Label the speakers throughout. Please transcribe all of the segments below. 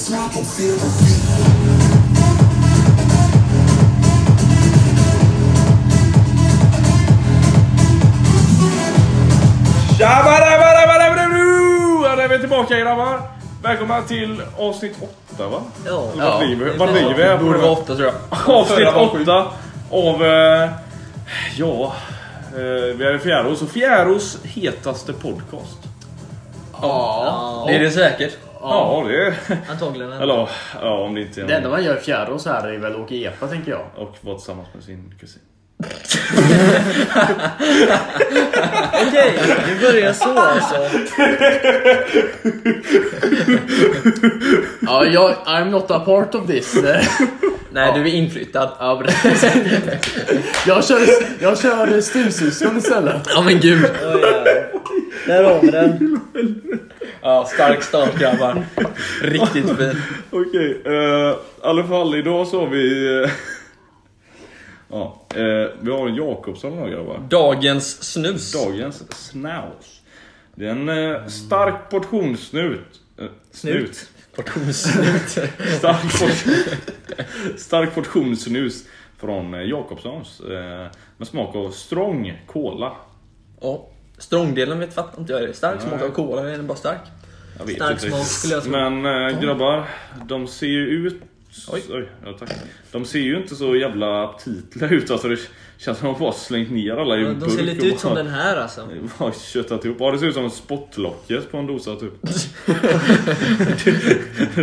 Speaker 1: feel the beat.
Speaker 2: Tjabarabarabarabarabru! Ja, där är vi tillbaka grabbar! Välkomna till avsnitt 8 va?
Speaker 3: Ja.
Speaker 2: Eller Vad blir vi? Vad blir vi?
Speaker 3: Det
Speaker 2: här på
Speaker 3: borde
Speaker 2: nu?
Speaker 3: vara åtta tror jag.
Speaker 2: Avsnitt
Speaker 3: Förra var sju.
Speaker 2: 8 av... Eh, ja... Eh, vi är i Fjärås och Fjärås hetaste podcast.
Speaker 4: Ja,
Speaker 3: Det är det säkert.
Speaker 2: Ja, det...
Speaker 3: Antagligen.
Speaker 2: Eller ja, om det inte
Speaker 4: det
Speaker 2: är
Speaker 4: enda
Speaker 2: någon...
Speaker 4: man gör i Fjärås här är väl åka epa tänker jag.
Speaker 2: Och vara tillsammans med sin kusin.
Speaker 3: Okej, vi börjar så alltså.
Speaker 4: Ja, jag, I'm not a part of this.
Speaker 3: Nej, du är inflyttad.
Speaker 4: ja, precis. jag kör, jag kör stuvsyskon istället.
Speaker 3: Ja men gud.
Speaker 5: Där har vi den.
Speaker 3: Ja, stark start grabbar. Riktigt fin.
Speaker 2: Okej, eh, i alla fall idag så har vi... eh, ja, eh, vi har en Jakobsson idag grabbar.
Speaker 3: Dagens snus.
Speaker 2: Dagens snaus. Det är en eh, stark portion snut. Eh, snut.
Speaker 3: Portionssnut.
Speaker 2: Stark, portion, stark portion snus från eh, Jakobssons. Eh, med smak av strong cola.
Speaker 3: Ja. Strongdelen vet fattar inte jag. Är det stark smak av cola eller är den bara stark?
Speaker 2: Jag vet
Speaker 3: Stark
Speaker 2: inte
Speaker 3: smak
Speaker 2: riktigt.
Speaker 3: skulle jag säga.
Speaker 2: Men eh, grabbar, de ser ju ut...
Speaker 3: Oj.
Speaker 2: Oj, ja, tack. De ser ju inte så jävla aptitliga ut. Alltså, det känns som att de bara slängt ner alla i en
Speaker 5: De ser
Speaker 2: burk
Speaker 5: lite
Speaker 2: och
Speaker 5: ut som
Speaker 2: bara-
Speaker 5: den här alltså.
Speaker 2: Bara köttat ihop. Ja, det ser ut som en spottlocket på en dosa typ.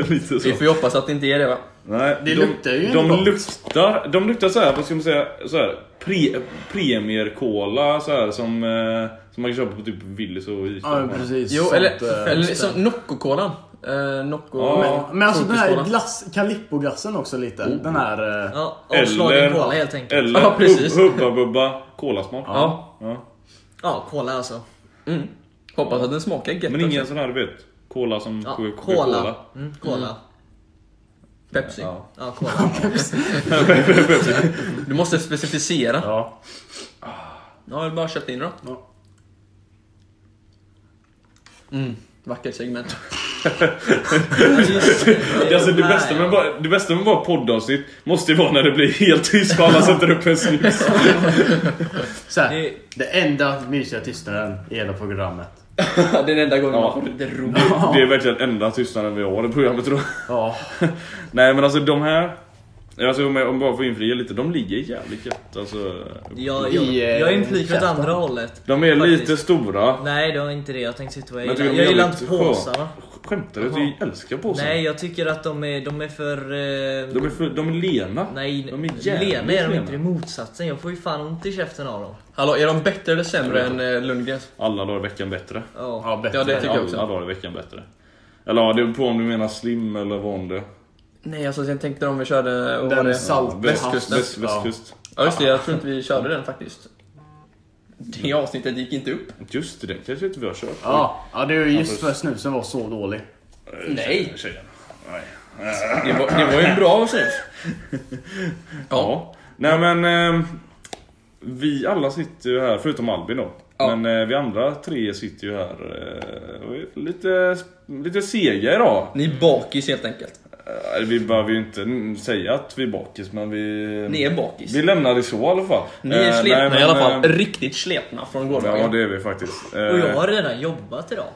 Speaker 2: Lite så.
Speaker 3: Vi får ju hoppas att det inte är det va?
Speaker 2: Nej, de,
Speaker 4: Det luktar ju
Speaker 2: de
Speaker 4: ändå.
Speaker 2: luktar, de luktar så här, vad ska man säga, så här, pre, premierkola så här som, eh, som man kan köpa på typ Willys och Ica.
Speaker 4: Ja, precis.
Speaker 3: Jo,
Speaker 4: Sånt,
Speaker 3: eller,
Speaker 4: eh,
Speaker 3: eller
Speaker 4: just det.
Speaker 3: som Nocco-kolan. Eh, Nocco...
Speaker 2: Ja.
Speaker 4: Men alltså den här
Speaker 3: Funkiscola.
Speaker 4: glass, Calippo-glassen också lite. Den här... eh,
Speaker 5: Ja,
Speaker 2: Eller-
Speaker 5: avslagen kola helt enkelt.
Speaker 2: Eller
Speaker 3: Ja, precis.
Speaker 2: hub- Hubba Bubba kolasmak.
Speaker 3: Ja.
Speaker 2: Ja.
Speaker 5: Ja, kola alltså.
Speaker 3: Mm. Hoppas att den smakar gött
Speaker 2: Men ingen sån här du vet, kola som
Speaker 5: Ja,
Speaker 2: Coca-Cola.
Speaker 5: kola. Mm, kola.
Speaker 3: Pepsi.
Speaker 2: Ja.
Speaker 5: Ja, kola.
Speaker 3: Du måste specificera.
Speaker 4: Ja.
Speaker 3: Ja, jag har bara köpt in det då.
Speaker 4: Ja.
Speaker 3: Mm, vackert segment.
Speaker 2: Det, alltså, det, bästa med bara, det bästa med bara poddavsnitt måste ju vara när det blir helt tyst för alla sätter upp en snus.
Speaker 4: Så här,
Speaker 5: Det-
Speaker 4: det... enda mysiga tystnaden i hela programmet.
Speaker 3: det är den enda gången
Speaker 2: Ja.
Speaker 3: man får lite roligt.
Speaker 2: Det är verkligen enda tystnaden vi har i programmet tror jag.
Speaker 4: Ja.
Speaker 2: Nej men alltså de här Alltså om jag om jag bara får infria lite, de ligger jävligt gött alltså,
Speaker 5: Jag, jag,
Speaker 4: I, eh,
Speaker 5: jag är inflikad åt
Speaker 4: käften.
Speaker 5: andra hållet.
Speaker 2: De är
Speaker 5: Faktiskt.
Speaker 2: lite stora
Speaker 5: Nej, det var inte det jag tänkte sitta vad jag
Speaker 2: Men tycker du
Speaker 5: gillar. Jag
Speaker 2: de
Speaker 5: gillar
Speaker 2: är
Speaker 5: inte
Speaker 2: lite sköna?
Speaker 5: påsarna.
Speaker 2: Skämtar du?
Speaker 5: Jaha.
Speaker 2: Jag älskar påsarna
Speaker 5: Nej, jag tycker att de är, de är för... Eh,
Speaker 2: De är, för, de är lena
Speaker 5: nej,
Speaker 2: de är jävligt
Speaker 5: lena är de
Speaker 2: lena.
Speaker 5: inte. Det är motsatsen. Jag får ju fan ont i käften av dem.
Speaker 3: Hallå, är de bättre eller sämre än eh, Lundgrens?
Speaker 2: Alla dagar i veckan bättre
Speaker 5: Ja.
Speaker 4: Ja, bättre.
Speaker 3: Ja, det- tycker jag
Speaker 2: Alla
Speaker 3: också.
Speaker 2: dagar i veckan bättre Eller ja, det beror på om du menar slim eller vad om det
Speaker 3: Nej, alltså jag tänkte om vi körde... och var
Speaker 4: Den
Speaker 3: det-
Speaker 4: salt...
Speaker 2: Västkust,
Speaker 3: Västkusten.
Speaker 2: väst, västkust
Speaker 3: Ja, just det. Jag tror inte vi körde den faktiskt. Det avsnittet gick inte upp.
Speaker 2: Just det, det kanske inte vi har kört
Speaker 4: Ja, ja det är ju just för snusen var så dålig.
Speaker 3: Nej.
Speaker 2: Tjejerna.
Speaker 3: Det var, det var ju en bra snus. Ja.
Speaker 2: Ja. Nej men eh, Vi alla sitter ju här, förutom Albin då
Speaker 3: Ja.
Speaker 2: Men eh, vi andra tre sitter ju här eh, och är lite, lite sega idag
Speaker 3: Ni är bakis helt enkelt.
Speaker 2: Eh, Vi behöver ju inte mm, säga att vi är bakis men vi...
Speaker 3: Ni är bakis.
Speaker 2: Vi lämnar det så i alla fall
Speaker 3: Ni är
Speaker 2: Eh,
Speaker 3: slepna
Speaker 2: nej, men,
Speaker 3: i alla fall.
Speaker 2: eh,
Speaker 3: Riktigt slepna från gårdagen.
Speaker 2: Ja det är vi faktiskt Eh,
Speaker 5: Och jag har redan jobbat idag.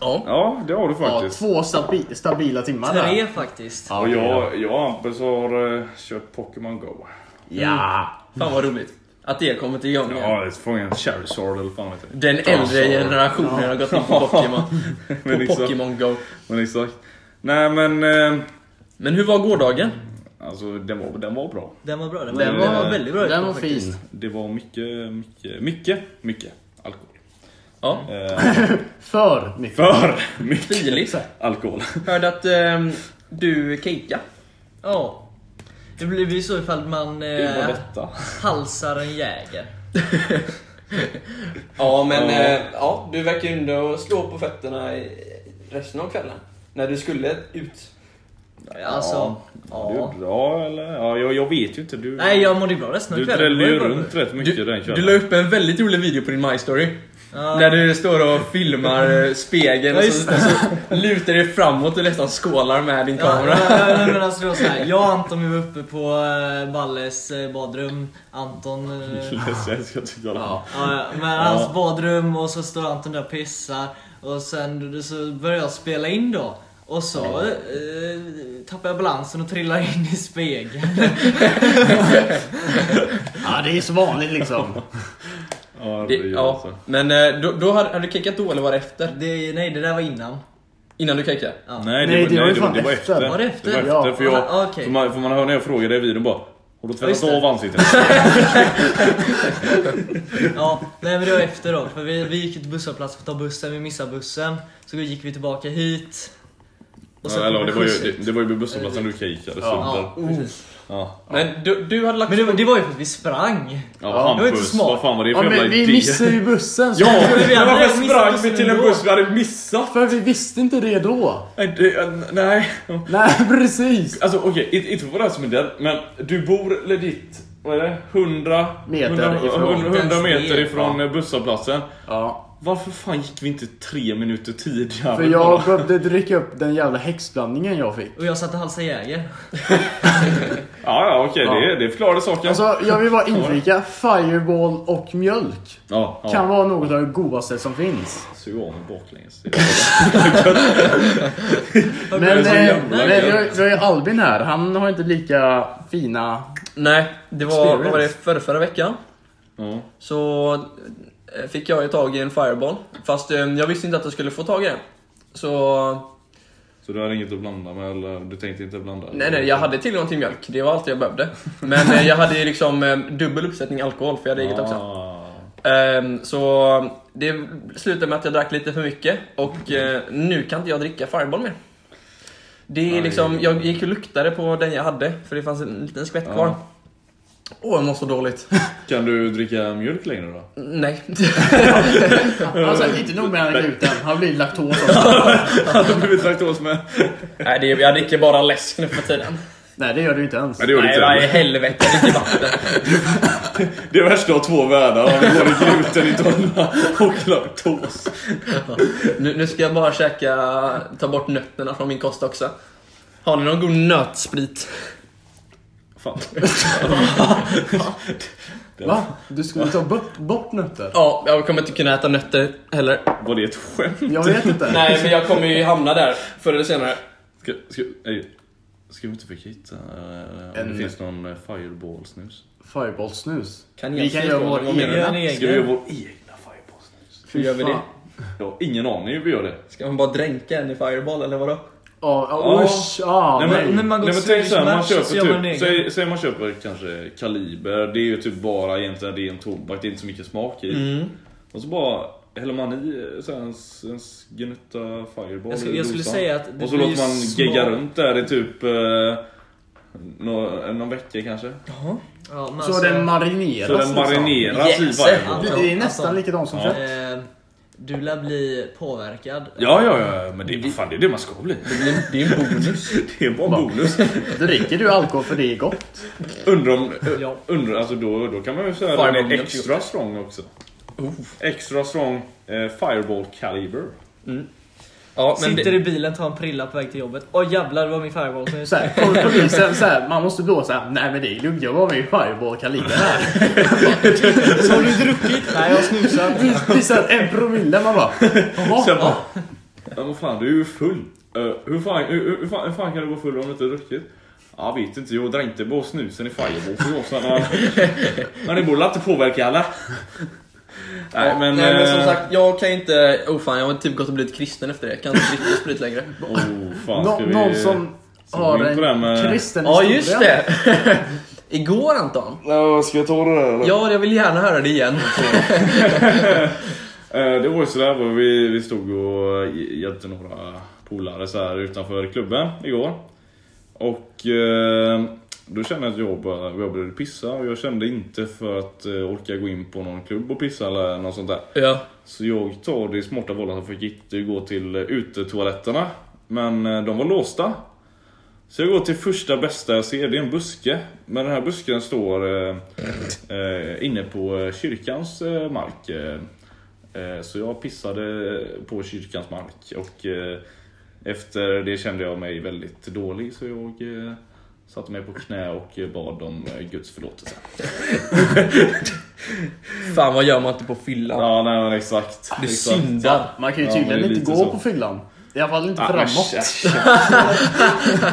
Speaker 3: Ja.
Speaker 2: Ja det har du
Speaker 4: Ja,
Speaker 2: faktiskt
Speaker 4: två stabi stabila timmar
Speaker 5: Tre
Speaker 4: där.
Speaker 5: faktiskt.
Speaker 4: Ja,
Speaker 2: Och
Speaker 4: okej då.
Speaker 2: jag, jag och Hampus har eh, kört Pokémon Go
Speaker 4: Ja.
Speaker 3: Fan vad roligt. Att det har kommit igång igen.
Speaker 2: Ja, fånga en Charizard eller fan vet jag
Speaker 3: Den äldre generationen har gått in på Pokémon.
Speaker 2: Men
Speaker 3: på
Speaker 2: liksom-
Speaker 3: Pokémon Go.
Speaker 2: Men exakt Nej men eh,
Speaker 3: Men hur var gårdagen?
Speaker 2: Alltså den var, den var bra
Speaker 5: Den var bra. Den var,
Speaker 2: Den
Speaker 5: den var,
Speaker 2: var-
Speaker 5: väldigt bra.
Speaker 4: Den
Speaker 5: utgång
Speaker 4: var
Speaker 5: faktiskt.
Speaker 4: fin.
Speaker 2: Det var mycket, mycket, mycket, mycket alkohol.
Speaker 3: Ja.
Speaker 2: Eh,
Speaker 4: För mycket.
Speaker 2: för mycket
Speaker 3: Filip,
Speaker 2: alkohol.
Speaker 5: Eh,
Speaker 3: hörde att ehm, du cakeade.
Speaker 5: Ja. Det blir ju så ifall man
Speaker 2: Det var
Speaker 5: eh,
Speaker 2: detta.
Speaker 5: halsar en jäger.
Speaker 3: Ja, men
Speaker 2: Ja.
Speaker 3: eh, ja, du verkar ju ändå slå på fötterna i resten av kvällen. När du skulle ut.
Speaker 5: Alltså,
Speaker 2: Ja. Du
Speaker 5: ja.
Speaker 2: är bra eller? Ja, jag, jag vet ju inte. Du,
Speaker 5: Nej, jag mådde ju bra resten av
Speaker 2: du
Speaker 5: kvällen.
Speaker 2: drällde
Speaker 5: Det var
Speaker 2: ju
Speaker 5: bra.
Speaker 2: runt rätt mycket
Speaker 3: Du,
Speaker 2: den
Speaker 3: du
Speaker 2: kvällen.
Speaker 3: la upp en väldigt rolig video på din My Story.
Speaker 5: Ja.
Speaker 3: När du står och filmar eh, spegeln och
Speaker 5: Ja,
Speaker 3: så, så lutar du framåt och nästan skålar med din
Speaker 5: Ja,
Speaker 3: kamera.
Speaker 5: ja, ja, men alltså det var så här. Jag och Anton vi var uppe på eh, Balles eh, badrum. Anton... eh,
Speaker 2: Jag ska tycka det.
Speaker 3: Ja.
Speaker 5: Ja, ja, men hans badrum och så står Anton där och pissar. Och sen så börjar jag spela in då. Och så eh, tappar jag balansen och trillar in i spegeln.
Speaker 4: Ja, det är så vanligt liksom.
Speaker 2: Ja,
Speaker 3: Det,
Speaker 2: det, ja.
Speaker 3: ja.
Speaker 2: Alltså.
Speaker 3: Men eh, då, då hade, hade du kickat då eller var det efter?
Speaker 5: Det, nej, det där var innan.
Speaker 3: Innan du kickade?
Speaker 5: Ja.
Speaker 2: Nej, det,
Speaker 4: Nej,
Speaker 2: var, nej, det, var, det var efter.
Speaker 5: Var det efter?
Speaker 2: Det var
Speaker 4: Ja.
Speaker 2: efter, för, jag,
Speaker 5: Ah, okej.
Speaker 2: för, man, för man hör när jag frågar dig i videon bara Har du tvättat
Speaker 5: Just det.
Speaker 2: av ansiktet?
Speaker 5: Ja, nej men det var efter då. För vi, vi gick ju till busshållplatsen för att ta bussen, vi missade bussen. Så gick vi tillbaka hit. Och sen
Speaker 2: Ja, eller,
Speaker 5: kom
Speaker 2: det, var ju,
Speaker 5: skjuts
Speaker 2: det,
Speaker 5: hit.
Speaker 2: det var ju vid busshållplatsen du kikade.
Speaker 5: Ja,
Speaker 2: Ja. Ja.
Speaker 3: Men du, du hade lagt...
Speaker 5: Men det, var- det var ju för att vi sprang.
Speaker 2: Ja,
Speaker 5: det var inte
Speaker 2: Hampus,
Speaker 5: smart.
Speaker 2: vad fan var det
Speaker 4: Ja,
Speaker 2: för jävla
Speaker 4: men vi
Speaker 2: idé?
Speaker 4: missade ju bussen. Så
Speaker 2: Ja!
Speaker 5: vi
Speaker 2: Men
Speaker 5: hade
Speaker 2: varför
Speaker 5: missat
Speaker 2: sprang
Speaker 5: bussen
Speaker 2: vi till en
Speaker 5: ändå.
Speaker 2: buss vi hade missat?
Speaker 4: För vi visste inte det då.
Speaker 2: Nej, det, nej.
Speaker 4: Nej, precis.
Speaker 2: Alltså okej, inte- inte för att vara som en del, men du bor legit, vad är det? 100
Speaker 4: Meter
Speaker 2: 100,
Speaker 4: ifrån.
Speaker 2: 100,
Speaker 5: Inte ens
Speaker 2: meter
Speaker 5: det,
Speaker 2: ifrån ja. busshållplatsen.
Speaker 4: Ja.
Speaker 2: Varför fan gick vi inte tre minuter tidigare?
Speaker 4: För jag behövde dricka upp den jävla häxblandningen jag fick.
Speaker 5: Och jag satte halsa jäger.
Speaker 2: Ja, ja okej, det, det förklarar saken.
Speaker 4: Alltså, jag vill bara inflika. Fireball och mjölk
Speaker 2: ja, ja.
Speaker 4: kan vara något av det godaste som finns.
Speaker 2: Sug av mig baklänges.
Speaker 4: Men,
Speaker 5: det är så
Speaker 4: eh,
Speaker 5: jävla
Speaker 4: men vi har vi har ju Albin här. Han har inte lika fina...
Speaker 3: Nej, det var,
Speaker 4: Experience.
Speaker 3: vad var det förra, förra veckan.
Speaker 2: Ja.
Speaker 3: Så eh, fick jag ju tag i en fireball. Fast eh, jag visste inte att jag skulle få tag i den. Så
Speaker 2: Så du har inget att blanda med eller du tänkte inte blanda?
Speaker 3: nej, nej, jag hade tillgång till mjölk. Det var allt jag behövde. Men eh, jag hade ju liksom eh, dubbel uppsättning alkohol för jag hade eget också.
Speaker 2: Ah.
Speaker 3: Ehm, Så det slutade med att jag drack lite för mycket och eh, nu kan inte jag dricka Fireball mer. Det är
Speaker 2: Aj.
Speaker 3: liksom, jag gick och luktade på den jag hade för det fanns en liten skvätt
Speaker 2: Ja.
Speaker 3: kvar. Åh, jag mår så dåligt.
Speaker 2: Kan du dricka mjölk längre då?
Speaker 3: Nej.
Speaker 4: Alltså, inte nog med han är gluten. Han blir laktos också.
Speaker 2: Hade du blivit laktos med?
Speaker 3: Nej, det är, jag dricker bara läsk nu för tiden.
Speaker 4: Nej, det gör du inte ens.
Speaker 2: Nej det gör du
Speaker 3: Nej, vad i
Speaker 2: inte.
Speaker 3: helvete, jag dricker vatten.
Speaker 2: Det är värsta av två världar. Om du Både gluten i tunna och laktos.
Speaker 3: Nu, nu ska jag bara käka, ta bort nötterna från min kost också. Har ni någon god nötsprit?
Speaker 2: Fan.
Speaker 4: Va? Du skulle ta bort, bort nötter?
Speaker 3: Ja, jag kommer inte kunna äta nötter heller.
Speaker 2: Var det ett skämt?
Speaker 4: Jag vet inte.
Speaker 3: Nej, men jag kommer ju hamna där förr eller senare.
Speaker 2: Ska, ska, nej, ska vi inte försöka hitta eh, om det
Speaker 4: En-
Speaker 2: finns någon eh, fireball-snus?
Speaker 4: Fireball-snus.
Speaker 3: Kan
Speaker 4: Vi
Speaker 3: jag
Speaker 4: kan
Speaker 3: se
Speaker 4: göra
Speaker 3: då?
Speaker 4: vår
Speaker 3: Vad menar du?
Speaker 5: Gör en
Speaker 4: egen.
Speaker 2: Ska vi göra
Speaker 5: egen.
Speaker 2: vår egna fireball-snus?
Speaker 3: Hur gör vi det?
Speaker 4: Fan.
Speaker 2: Jag har ingen aning hur vi gör det.
Speaker 3: Ska man bara dränka en i Fireball eller vadå?
Speaker 4: Ja,
Speaker 2: Ja.
Speaker 4: ja, usch. Ja,
Speaker 2: Nej,
Speaker 4: nej.
Speaker 2: men,
Speaker 5: men man går
Speaker 2: nej, men
Speaker 5: till
Speaker 2: tänk såhär, man
Speaker 5: Swedish Match
Speaker 2: köper
Speaker 5: och så gör man en
Speaker 2: typ,
Speaker 5: egen.
Speaker 2: säg, säg man köper kanske Kaliber, det är ju typ bara egentligen ren tobak, det är inte så mycket smak i.
Speaker 5: Mm.
Speaker 2: Och så bara häller man i eh, så här, en, en gnutta fireball
Speaker 5: Jag,
Speaker 2: i
Speaker 5: skulle- jag skulle
Speaker 2: dosan.
Speaker 5: säga att det
Speaker 2: Och så
Speaker 5: blir
Speaker 2: låter man
Speaker 5: smak-
Speaker 2: gegga runt där i typ eh, nå- eh, någon vecka kanske.
Speaker 5: Ja, men
Speaker 4: Så
Speaker 5: alltså,
Speaker 4: den marineras
Speaker 2: Så den
Speaker 4: liksom.
Speaker 2: marineras i
Speaker 3: Yes.
Speaker 2: fireball.
Speaker 4: Det- Det är nästan
Speaker 3: Alltså.
Speaker 4: likadant som
Speaker 2: Ja.
Speaker 4: kött.
Speaker 5: eh, Du lär bli påverkad.
Speaker 2: Ja, ja, ja, men det är, fan, det, är det man ska bli.
Speaker 3: Det är en bonus.
Speaker 2: Det är bara bonus.
Speaker 4: Dricker du alkohol för det är gott?
Speaker 2: Undrar om...
Speaker 5: Ja.
Speaker 2: Undrar, alltså då, då kan man ju säga
Speaker 3: Fireball
Speaker 2: att den är
Speaker 3: mjölk.
Speaker 2: extra strong också. Extra strong eh, fireball caliber.
Speaker 3: ja, men
Speaker 5: Sitter
Speaker 3: det,
Speaker 5: i bilen, tar en prilla på väg till jobbet. Åh jävlar, det var min fireball. Så
Speaker 4: Såhär, kommer polisen såhär, man måste blåsa. Nej men det är lugnt, jag var med i fireball-kalibern här.
Speaker 5: har du druckit? Nej, jag snusar.
Speaker 4: Vis- Visar en promille, man bara.
Speaker 2: Så jag
Speaker 4: Jaha.
Speaker 2: bara... Men vad fan, du är ju full. Eh, hur, fan, hur, hur, hur fan, hur fan kan du vara full om du inte har druckit? Jag vet inte, jag dränkte bara snusen i fireball för gåsen. Men det borde inte påverka alla. Nej
Speaker 3: ja,
Speaker 2: men...
Speaker 3: nej, men som
Speaker 2: eh,
Speaker 3: sagt, jag kan inte... Oh fan, jag har typ gått och blivit kristen efter det. Jag kan inte dricka sprit längre.
Speaker 2: Oh, fan,
Speaker 4: Nå-
Speaker 2: ska vi...
Speaker 4: någon som
Speaker 2: ska vi
Speaker 4: har
Speaker 2: gå in på det här
Speaker 4: en
Speaker 2: med-
Speaker 4: kristen
Speaker 3: Ja, just det! Igår Anton.
Speaker 2: Ja, ska jag ta det där eller?
Speaker 3: Ja, jag vill gärna höra det igen.
Speaker 2: Eh, Det var ju sådär, var vi, vi stod och hjälpte några polare så här utanför klubben igår. Och eh, då kände jag att jag, bara, jag började pissa och jag kände inte för att eh, orka gå in på någon klubb och pissa eller något sånt där.
Speaker 3: ja.
Speaker 2: Så jag tar det smarta valet att jag fick inte gå till eh, utetoaletterna. Men eh, de var låsta. Så jag går till första bästa jag ser, det är en buske. Men den här busken står eh, eh, inne på eh, kyrkans eh, mark. Eh, Eh, Så jag pissade på kyrkans mark och eh, efter det kände jag mig väldigt dålig så jag eh, satte mig på knä och eh, bad om eh, Guds förlåtelse.
Speaker 3: Fan vad gör man inte på fyllan? Liksom.
Speaker 2: Ja, nej men exakt.
Speaker 3: Du
Speaker 2: exakt.
Speaker 3: syndar.
Speaker 4: Man kan ju
Speaker 2: Ja, men
Speaker 4: tydligen
Speaker 2: det är
Speaker 4: inte
Speaker 2: lite
Speaker 4: gå
Speaker 2: så.
Speaker 4: på fyllan. I alla fall inte
Speaker 2: Ah, men
Speaker 4: framåt.
Speaker 2: tja, tja.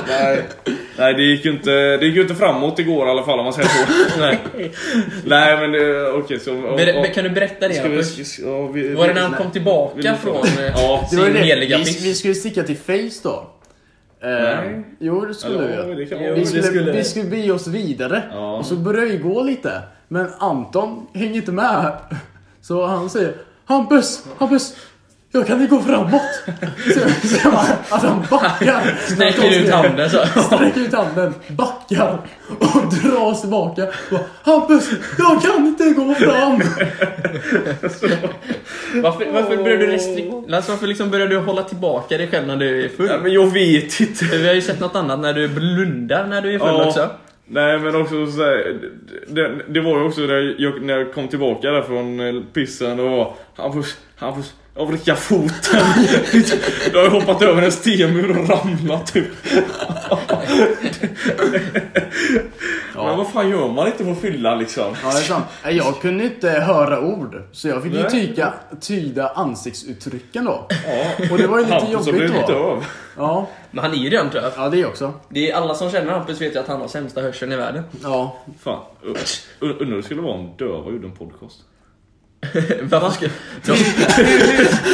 Speaker 2: Nej, nej det, gick ju inte, det gick ju inte framåt igår i alla fall om man säger så. nej. nej men det- okej så... om-
Speaker 3: Ber,
Speaker 2: om-
Speaker 3: ber, kan du berätta det?
Speaker 2: ska vi-
Speaker 3: Hampus?
Speaker 2: ska- ja, vi-
Speaker 3: Var
Speaker 2: vi-
Speaker 3: det när han kom
Speaker 2: vill
Speaker 3: tillbaka
Speaker 2: du-
Speaker 3: från eh,
Speaker 2: Ja.
Speaker 4: Det var ju
Speaker 3: sin
Speaker 4: det.
Speaker 3: heliga
Speaker 4: Vi, vi
Speaker 3: piss?
Speaker 4: skulle sticka till Face då. Eh,
Speaker 2: Nej.
Speaker 4: Jo, det skulle vi.
Speaker 2: Eller, ja,
Speaker 4: göra.
Speaker 2: det kan-
Speaker 5: Jo,
Speaker 4: Vi
Speaker 5: det
Speaker 4: skulle,
Speaker 5: skulle vi.
Speaker 4: vi skulle bege oss vidare.
Speaker 2: Ja.
Speaker 4: Och så började vi gå lite. Men Anton hänger inte med. Så han säger Hampus, Hampus, jag kan inte gå framåt. Så, så jag bara, att han backar.
Speaker 3: Sträcker ut handen så.
Speaker 4: Sträcker ut handen, backar och dras tillbaka. Och bara, Hampus, jag kan inte gå fram.
Speaker 3: Varför, varför började du restrikt... Alltså, varför liksom började du hålla tillbaka dig själv när du är full?
Speaker 2: Nej, men jag vet inte.
Speaker 3: Vi har ju sett något annat när du blundar när du är full
Speaker 2: Ja.
Speaker 3: också.
Speaker 2: Nej men också så här, det, det var ju också när jag, när jag kom tillbaka där från eh, pissen och var Hampus, Hampus, jag vrickar foten. jag har ju hoppat över en stenmur och ramlat typ. Men vad fan gör man inte på fylla liksom?
Speaker 4: Ja, det är sant. Nej, Jag kunde inte höra ord, så jag fick ju
Speaker 2: Nej.
Speaker 4: tyda, tyda ansiktsuttrycken då.
Speaker 2: Ja.
Speaker 4: Och det var ju lite
Speaker 2: Hampus har
Speaker 4: jobbigt
Speaker 2: blivit
Speaker 4: då.
Speaker 2: döv.
Speaker 4: Ja,
Speaker 3: Men han är ju redan döv.
Speaker 4: ja, det också.
Speaker 3: Det är alla som känner Hampus vet ju att han har sämsta hörseln i världen.
Speaker 4: Ja,
Speaker 2: Fan, u- undrar hur det skulle vara om döva gjorde en podcast.
Speaker 3: Varför ska...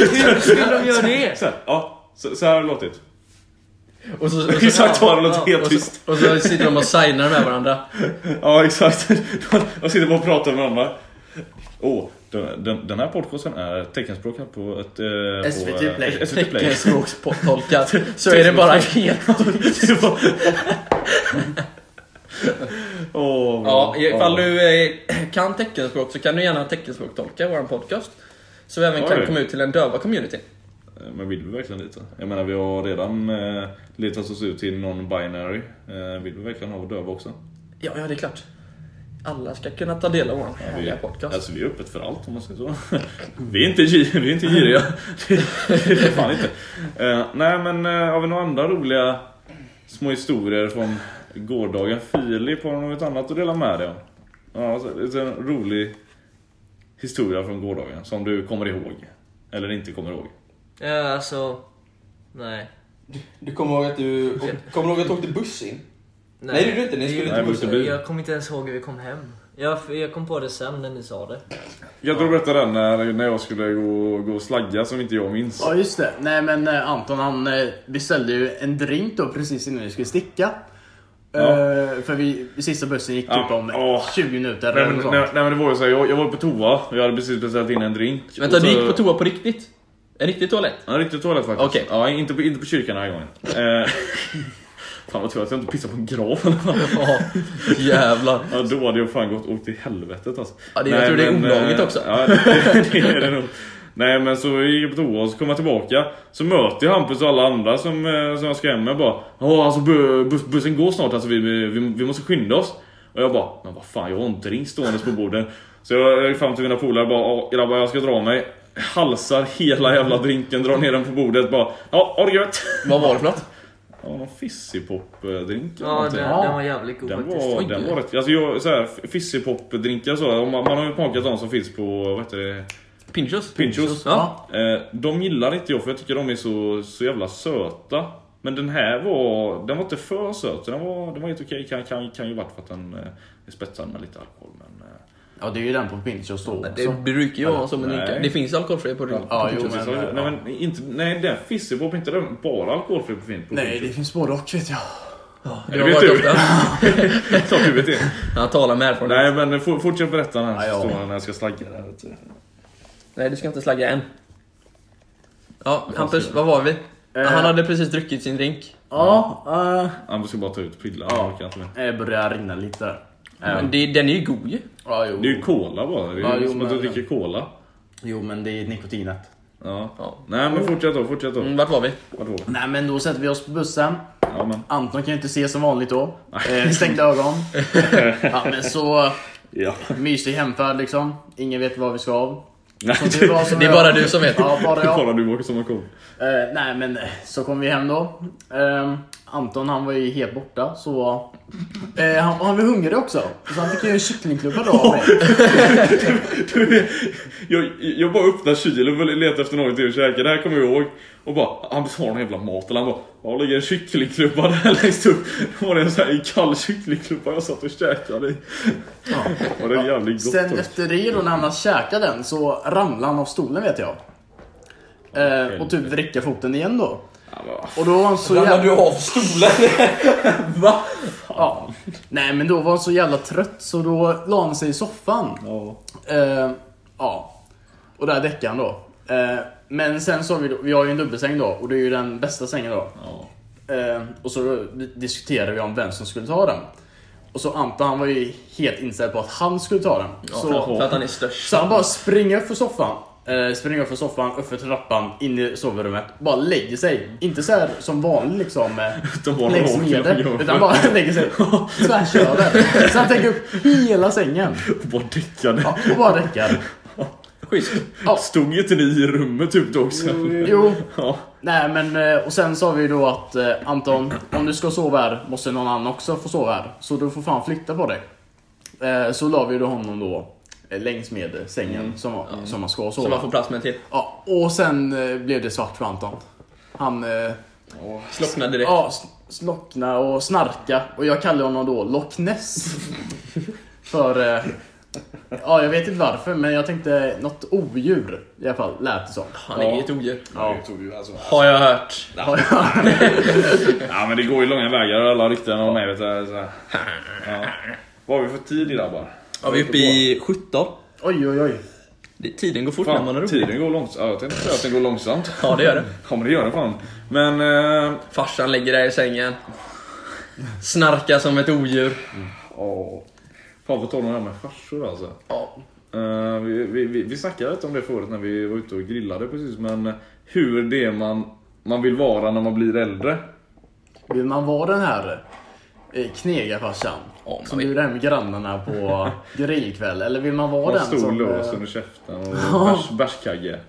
Speaker 5: Hur skulle de göra det?
Speaker 2: Så här, ja, så, så här har det låtit.
Speaker 3: Och så, och
Speaker 2: Exakt, har det låtit helt
Speaker 3: och
Speaker 2: tyst.
Speaker 3: så, och så sitter de och signar med varandra.
Speaker 2: Ja, exakt. De sitter bara och pratar med varandra. Åh, den, den, den här podcasten är teckenspråkad på ett... Eh,
Speaker 4: SVT
Speaker 2: på, eh,
Speaker 4: Play.
Speaker 3: typ
Speaker 2: SVT Play.
Speaker 3: Teckenspråkstolkat. Så är det bara helt...
Speaker 2: Det var- Åh,
Speaker 3: Ja,
Speaker 2: vad-
Speaker 3: ifall
Speaker 2: ja.
Speaker 3: du eh, kan teckenspråk så kan du gärna teckenspråktolka vår podcast. Så vi även kan
Speaker 2: Oj.
Speaker 3: komma ut till den döva communityn.
Speaker 2: Eh, Men vill vi verkligen lite? Jag menar, vi har redan eh, letat oss ut till non-binary. Eh, vill vi verkligen ha döva också?
Speaker 3: Ja, ja, det är klart. Alla ska kunna ta del av vår härliga podcast.
Speaker 2: Alltså, vi är öppet för allt om man säger så. vi är inte, gi- vi är inte giriga. det är vi fan inte. Eh, nej, men eh, har vi några andra roliga små historier från gårdagen? Filip, har du något annat att dela med dig av? Ja, alltså, lite en rolig historia från gårdagen som du kommer ihåg. Eller inte kommer ihåg.
Speaker 5: Ja, alltså... Nej.
Speaker 6: Du kommer ihåg att du, och, kommer du ihåg att du åkte buss in? Nej, det gjorde du inte. Ni skulle
Speaker 2: till
Speaker 5: Jag-
Speaker 2: Nej, vi åkte bil.
Speaker 5: Jag kommer inte ens ihåg hur vi kom hem. Jag, jag kom på det sen när ni sa det.
Speaker 2: Jag tror jag berättade den när, när jag skulle gå, gå och slagga som inte jag minns.
Speaker 4: ja just det. Nej men eh, Anton han eh, beställde ju en drink då precis innan vi skulle sticka.
Speaker 2: Ja.
Speaker 4: Eh, för vi, sista bussen gick
Speaker 2: Ja,
Speaker 4: typ om
Speaker 2: åh.
Speaker 4: 20 minuter
Speaker 2: Nej
Speaker 4: eller
Speaker 2: men,
Speaker 4: något
Speaker 2: nej,
Speaker 4: sånt.
Speaker 2: nej men det var ju såhär, jag, jag var på toa och jag hade precis beställt in en drink.
Speaker 3: Vänta,
Speaker 2: Och så-
Speaker 3: du gick på toa på riktigt? En riktig toalett?
Speaker 2: Ja, riktigt toalett faktiskt.
Speaker 3: Okej.
Speaker 2: Ja, inte på, inte på kyrkan den här gången. Eh, fan vad tur att jag inte pissade på en grav eller vad.
Speaker 3: Ja, jävlar.
Speaker 2: Ja, då hade jag fan gått åkt till helvetet alltså.
Speaker 3: Ja, det- jag tror det är olagligt
Speaker 2: eh,
Speaker 3: också.
Speaker 2: Ja, det, det är det nog. Nej men så gick jag på toa och så kom jag tillbaka Så möter jag Hampus och alla andra som, eh, som jag ska hem med bara Ja alltså bu- bus, bussen går snart alltså vi, vi, vi måste skynda oss Och jag bara Men vad fan jag har en drink stående på borden Så jag gick fram till mina polare och bara "Ja, grabbar jag ska dra mig Halsar hela jävla drinken, drar ner den på bordet bara Ja ha det gött!
Speaker 3: Vad var det för något?
Speaker 2: Ja någon fissipop-drink eller
Speaker 5: Ja,
Speaker 2: någonting.
Speaker 5: den, den var jävligt god
Speaker 2: Den
Speaker 5: faktiskt.
Speaker 2: var,
Speaker 3: Oj.
Speaker 2: den var rätt... Alltså jag, så här, fissipop-drinkar så, man, man har ju smakat de som finns på, vad heter det?
Speaker 3: Pinchos?
Speaker 2: Pinchos.
Speaker 3: Ja.
Speaker 2: Eh, de gillar inte jag för jag tycker de är så, så jävla söta. Men den här var, den var inte för söt, så den var, den var helt okej. Kan, kan, kan ju vara för att den eh, är spetsad med lite alkohol. Men, eh,
Speaker 4: Ja det är ju den på Pinchos då också.
Speaker 3: Det brukar ju vara som en
Speaker 2: Nej.
Speaker 3: dricka. Det finns alkoholfria på drink.
Speaker 4: Ja, jo,
Speaker 2: Pinchos är
Speaker 4: men,
Speaker 2: så-
Speaker 4: eh,
Speaker 2: nej, men inte, nej den fissipop, inte den bara alkoholfri på fin. På
Speaker 4: Nej
Speaker 2: Pinchos.
Speaker 4: det finns både och vet jag.
Speaker 3: Det
Speaker 2: det
Speaker 3: har
Speaker 2: vet
Speaker 3: varit
Speaker 2: du.
Speaker 3: ofta.
Speaker 2: Klart du vet det.
Speaker 3: Han talar med erfarenhet.
Speaker 2: Nej men for, fortsätt berätta den här
Speaker 4: Ja, ja.
Speaker 2: historien när jag ska slagga där. vet du.
Speaker 3: Nej, du ska inte slagga än. Ja, Hampus, vad var vi? Ja, Han hade precis druckit sin drink.
Speaker 4: Ja, eh,
Speaker 2: Jag ska bara ta ut pillar, jag
Speaker 4: Ja.
Speaker 2: orkar inte mer.
Speaker 4: det Eh, börjar rinna lite där. Eh,
Speaker 3: Men det, den är ju god ju.
Speaker 4: ja, jo.
Speaker 2: Det är ju cola bara, det är
Speaker 4: Ja,
Speaker 2: ju
Speaker 4: jo,
Speaker 2: som att du
Speaker 4: men-
Speaker 2: dricker cola.
Speaker 4: jo men det är nikotinet.
Speaker 2: Ja.
Speaker 3: Ja.
Speaker 2: Nej men fortsätt då, fortsätt då.
Speaker 3: Mm, vart var vi?
Speaker 2: Vart var vi?
Speaker 4: Nej men då sätter vi oss på bussen.
Speaker 2: Ja, men.
Speaker 4: Anton kan ju inte se som vanligt då. Eh, stängda ögon. ja men så
Speaker 2: Ja.
Speaker 4: mysig hemfärd liksom. Ingen vet vad vi ska av. Så det, var som
Speaker 3: Det är
Speaker 4: jag-
Speaker 3: bara du som vet.
Speaker 4: Ja, bara jag.
Speaker 2: Bara du åker som en ko.
Speaker 4: Eh, nej men eh, så kom vi hem då. Eh, Anton han var ju helt borta så... Eh, han, han var hungrig också. Så han fick ju en kycklingklubba då av mig.
Speaker 2: Jag, jag bara öppnar kylen för att leta efter någonting att käka, det här kommer jag ihåg. Och bara, han har någon jävla mat eller han bara, ja det ligger en kycklingklubba där längst upp. Då var det en sån här kall kycklingklubba jag satt och käkade i. Och det är jävligt gott
Speaker 4: Sen
Speaker 2: också.
Speaker 4: efter det då när han hade käkat den så ramlade han av stolen vet jag. Eh, och typ vrickade foten igen då.
Speaker 2: Ja, men vad
Speaker 4: Och då var han så
Speaker 6: Ramlade
Speaker 4: jävla...
Speaker 6: du av stolen? Va?
Speaker 4: Ja. Nej men då var han så jävla trött så då la han sig i soffan.
Speaker 2: Ja.
Speaker 4: Eh, ja. Och där däckade han då. Eh, men sen så har vi då, vi har ju en dubbelsäng då och det är ju den bästa sängen då.
Speaker 2: Ja.
Speaker 4: Eh, och så di- diskuterade vi om vem som skulle ta den. Och så Anton han var ju helt inställd på att han skulle ta den. så,
Speaker 3: För att han är störst.
Speaker 4: så han bara springer upp för soffan. Eh, springer upp för soffan, upp för trappan, in i sovrummet. Bara lägger sig. Inte så här som vanligt liksom. Eh,
Speaker 2: De var
Speaker 4: läggs
Speaker 2: raka
Speaker 4: ner
Speaker 2: på
Speaker 4: där,
Speaker 2: jobben.
Speaker 4: utan bara lägger sig tvärs över. Så han täcker upp hela sängen.
Speaker 2: Bara däckade.
Speaker 4: Ja, och bara räcker.
Speaker 3: Schysst.
Speaker 2: Stod inte ni i rummet typ då också?
Speaker 4: Jo,
Speaker 2: Ja.
Speaker 4: nej men eh, och sen sa vi då att eh, Anton, om du ska sova här måste någon annan också få sova här. Så du får fan flytta på dig. Eh, Så la vi då honom då eh, längs med eh, sängen som, som man ska sova.
Speaker 3: Så man får plats med en till.
Speaker 4: Ja, och sen eh, blev det svart för Anton. Han eh,
Speaker 3: Slockna direkt.
Speaker 4: ja, s- slockna och snarka och jag kallade honom då Loch Ness. för, eh, ja jag vet inte varför men jag tänkte något odjur i alla fall lät det som.
Speaker 3: Han är ju ett odjur.
Speaker 2: Ja. det tog ju alltså-
Speaker 3: Har jag hört.
Speaker 2: Ja men det går ju långa vägar alla rykten och mig vet du. Så här. Ja. Vad har vi för tid idag bara?
Speaker 3: Ja, vi är uppe i 17.
Speaker 4: Oj oj oj.
Speaker 3: Det- Tiden går fort när man har
Speaker 2: Fan,
Speaker 3: roligt.
Speaker 2: tiden går långsamt. Ja, jag tänkte säga att den går långsamt.
Speaker 3: Ja, det gör det.
Speaker 2: Ja men det gör den fan. Men eh,
Speaker 3: Farsan ligger där i sängen. Snarkar som ett odjur.
Speaker 2: Ja. Fan, på tal om det här med farsor alltså.
Speaker 4: Ja.
Speaker 2: Eh, vi, vi, vi, vi snackade lite om det förut när vi var ute och grillade precis, men hur det är man, man vill vara när man blir äldre.
Speaker 4: Vill man vara den här eh, knegarfarsan?
Speaker 3: Ja, man
Speaker 4: som
Speaker 3: vet.
Speaker 4: blir där med grannarna på grillkväll? Eller vill man vara
Speaker 2: Man
Speaker 4: den
Speaker 2: har stor
Speaker 4: som... eh,
Speaker 2: lås under käften och bärs, bärskagge.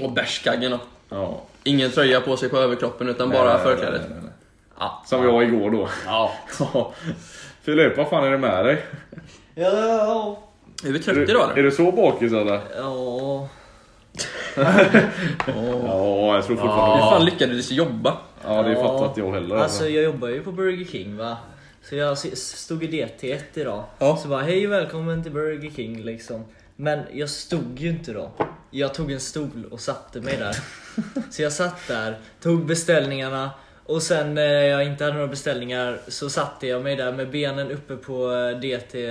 Speaker 3: Och bärskaggen då.
Speaker 2: Ja.
Speaker 3: Ingen tröja på sig på överkroppen utan bara förklädet.
Speaker 2: Nej, nej, nej.
Speaker 3: Ja.
Speaker 2: Eh, Som jag igår då.
Speaker 4: Ja.
Speaker 2: Ja. Filip, vad fan är det med dig?
Speaker 5: Ja, ja,
Speaker 3: Är vi
Speaker 2: Är
Speaker 3: trötta idag
Speaker 2: du, är
Speaker 3: eller?
Speaker 2: du så bakis eller?
Speaker 5: ja.
Speaker 2: Ja, jag tror fortfarande
Speaker 3: Hur fan lyckades du jobba?
Speaker 2: Ja, det fattar inte jag heller.
Speaker 5: Alltså jag jobbar ju på Burger King va. Så jag s- stod i DT1 idag.
Speaker 3: Ja.
Speaker 5: Så bara hej och välkommen till Burger King liksom. Men jag stod ju inte då. Jag tog en stol och satte mig där. Så jag satt där, tog beställningarna och sen när jag inte hade några beställningar så satte jag mig där med benen uppe på eh, DT, eh,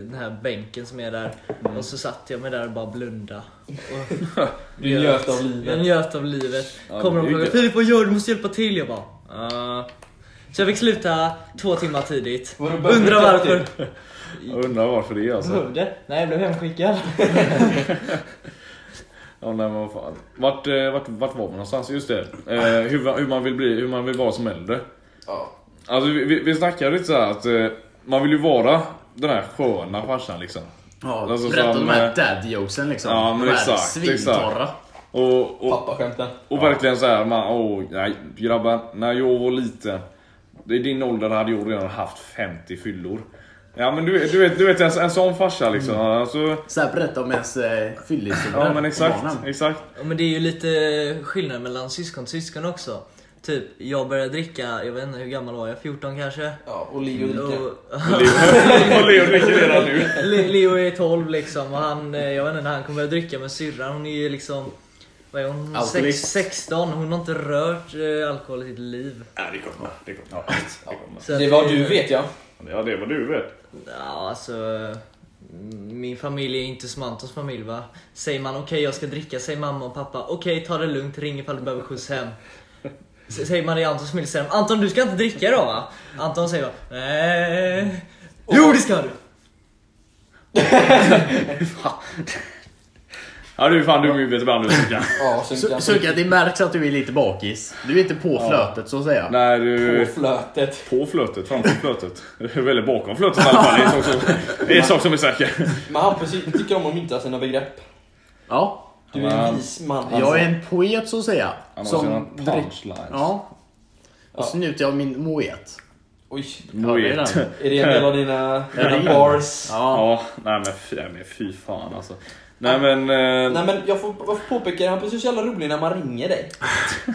Speaker 5: den här bänken som är där. Och så satt jag mig där och bara blunda. Och
Speaker 6: Du njöt av livet.
Speaker 5: Jag njöt av livet.
Speaker 2: Ja,
Speaker 5: Kommer
Speaker 2: det är
Speaker 5: de och frågar
Speaker 2: gött.
Speaker 5: Filip vad gör du? Du måste hjälpa till. Jag bara "Ah." Så jag fick sluta två timmar tidigt.
Speaker 6: Var du bönder
Speaker 5: Undrar varför.
Speaker 6: tidigt?
Speaker 2: Jag undrar varför det är alltså.
Speaker 5: Hörde? Nej, jag blev hemskickad.
Speaker 2: Ja, nej, men vad fan. Vart, eh, vart, vart var man någonstans? Just det. Eh, hur, hur, man vill bli, hur man vill vara som äldre.
Speaker 6: Ja.
Speaker 2: Alltså vi, vi, vi snackade lite så här att eh, man vill ju vara den här sköna farsan liksom.
Speaker 4: Ja,
Speaker 2: Alltså,
Speaker 4: berätta
Speaker 2: som,
Speaker 4: de här
Speaker 2: eh,
Speaker 4: dad jokesen liksom.
Speaker 2: ja, men
Speaker 4: de här
Speaker 2: exakt,
Speaker 4: svintorra.
Speaker 2: Och, och,
Speaker 6: Pappaskämten.
Speaker 2: och verkligen så här, man, åh nej grabbar, när jag var liten. I din ålder hade jag redan haft 50 fyllor. Ja men du, vet- du vet, du vet en, en sån farsa liksom. Alltså,
Speaker 4: Så här, berätta om ens eh, fyllehistorier.
Speaker 2: ja men
Speaker 4: på
Speaker 2: exakt,
Speaker 4: barnen.
Speaker 2: exakt.
Speaker 5: Ja, Men det är ju lite skillnad mellan syskon till syskon också. Typ, jag började dricka, jag vet inte hur gammal var jag? 14 kanske?
Speaker 6: Ja, och Leo dricker.
Speaker 5: Och,
Speaker 2: Och Leo dricker redan nu.
Speaker 5: Le- Leo är 12 liksom och han, eh, jag vet inte när han kommer börja dricka med syrran. Hon är ju liksom, vad är hon? Sex,
Speaker 4: Alkoholist.
Speaker 5: 16. Hon har inte rört eh, alkohol i sitt liv.
Speaker 2: Ja det kommer, det kommer. Ja,
Speaker 5: Så
Speaker 6: Det
Speaker 5: att
Speaker 6: var
Speaker 5: det-
Speaker 6: du vet jag.
Speaker 2: ja det var du vet.
Speaker 5: Ja, alltså. mm, Min familj är inte som Antons familj va? Säger man okej jag ska dricka, säger mamma och pappa okej ta det lugnt, ring ifall du behöver skjuts hem. S- Säger man det i Antons familj säger de Anton du ska inte dricka idag va? Anton säger bara
Speaker 6: Mm.
Speaker 5: nej. Jo det ska du!
Speaker 2: Ja du är fan dum i huvudet ibland du Sickan.
Speaker 6: Ja,
Speaker 4: Su-
Speaker 6: synkan.
Speaker 4: Sucka, det märks att du är lite bakis. Du är inte på flötet så att säga.
Speaker 2: Nej du...
Speaker 6: Och flötet.
Speaker 2: På flötet, framför flötet. Eller bakom flötet i alla fall. Det är en sak som- Det är en sak som är säker.
Speaker 6: Men Hampus tycker om att mynta sina begrepp.
Speaker 4: Ja,
Speaker 6: Du är en
Speaker 2: Han-
Speaker 6: vis man.
Speaker 4: jag är en poet så att säga.
Speaker 2: Alltså, Han har sina
Speaker 4: Som drick...
Speaker 2: punchlines.
Speaker 4: Ja. Och så njuter jag av min moet.
Speaker 6: Oj.
Speaker 4: Ja, det är
Speaker 2: Moet.
Speaker 4: den.
Speaker 6: Är det en del av dina,
Speaker 4: det
Speaker 6: dina
Speaker 4: är-
Speaker 6: bars?
Speaker 4: Ja.
Speaker 2: Ja, nej men fy, nej, men fy fan alltså. Nej men... Eh,
Speaker 6: Nej men jag får, jag får påpeka det, han blir så jävla rolig när man ringer dig. Du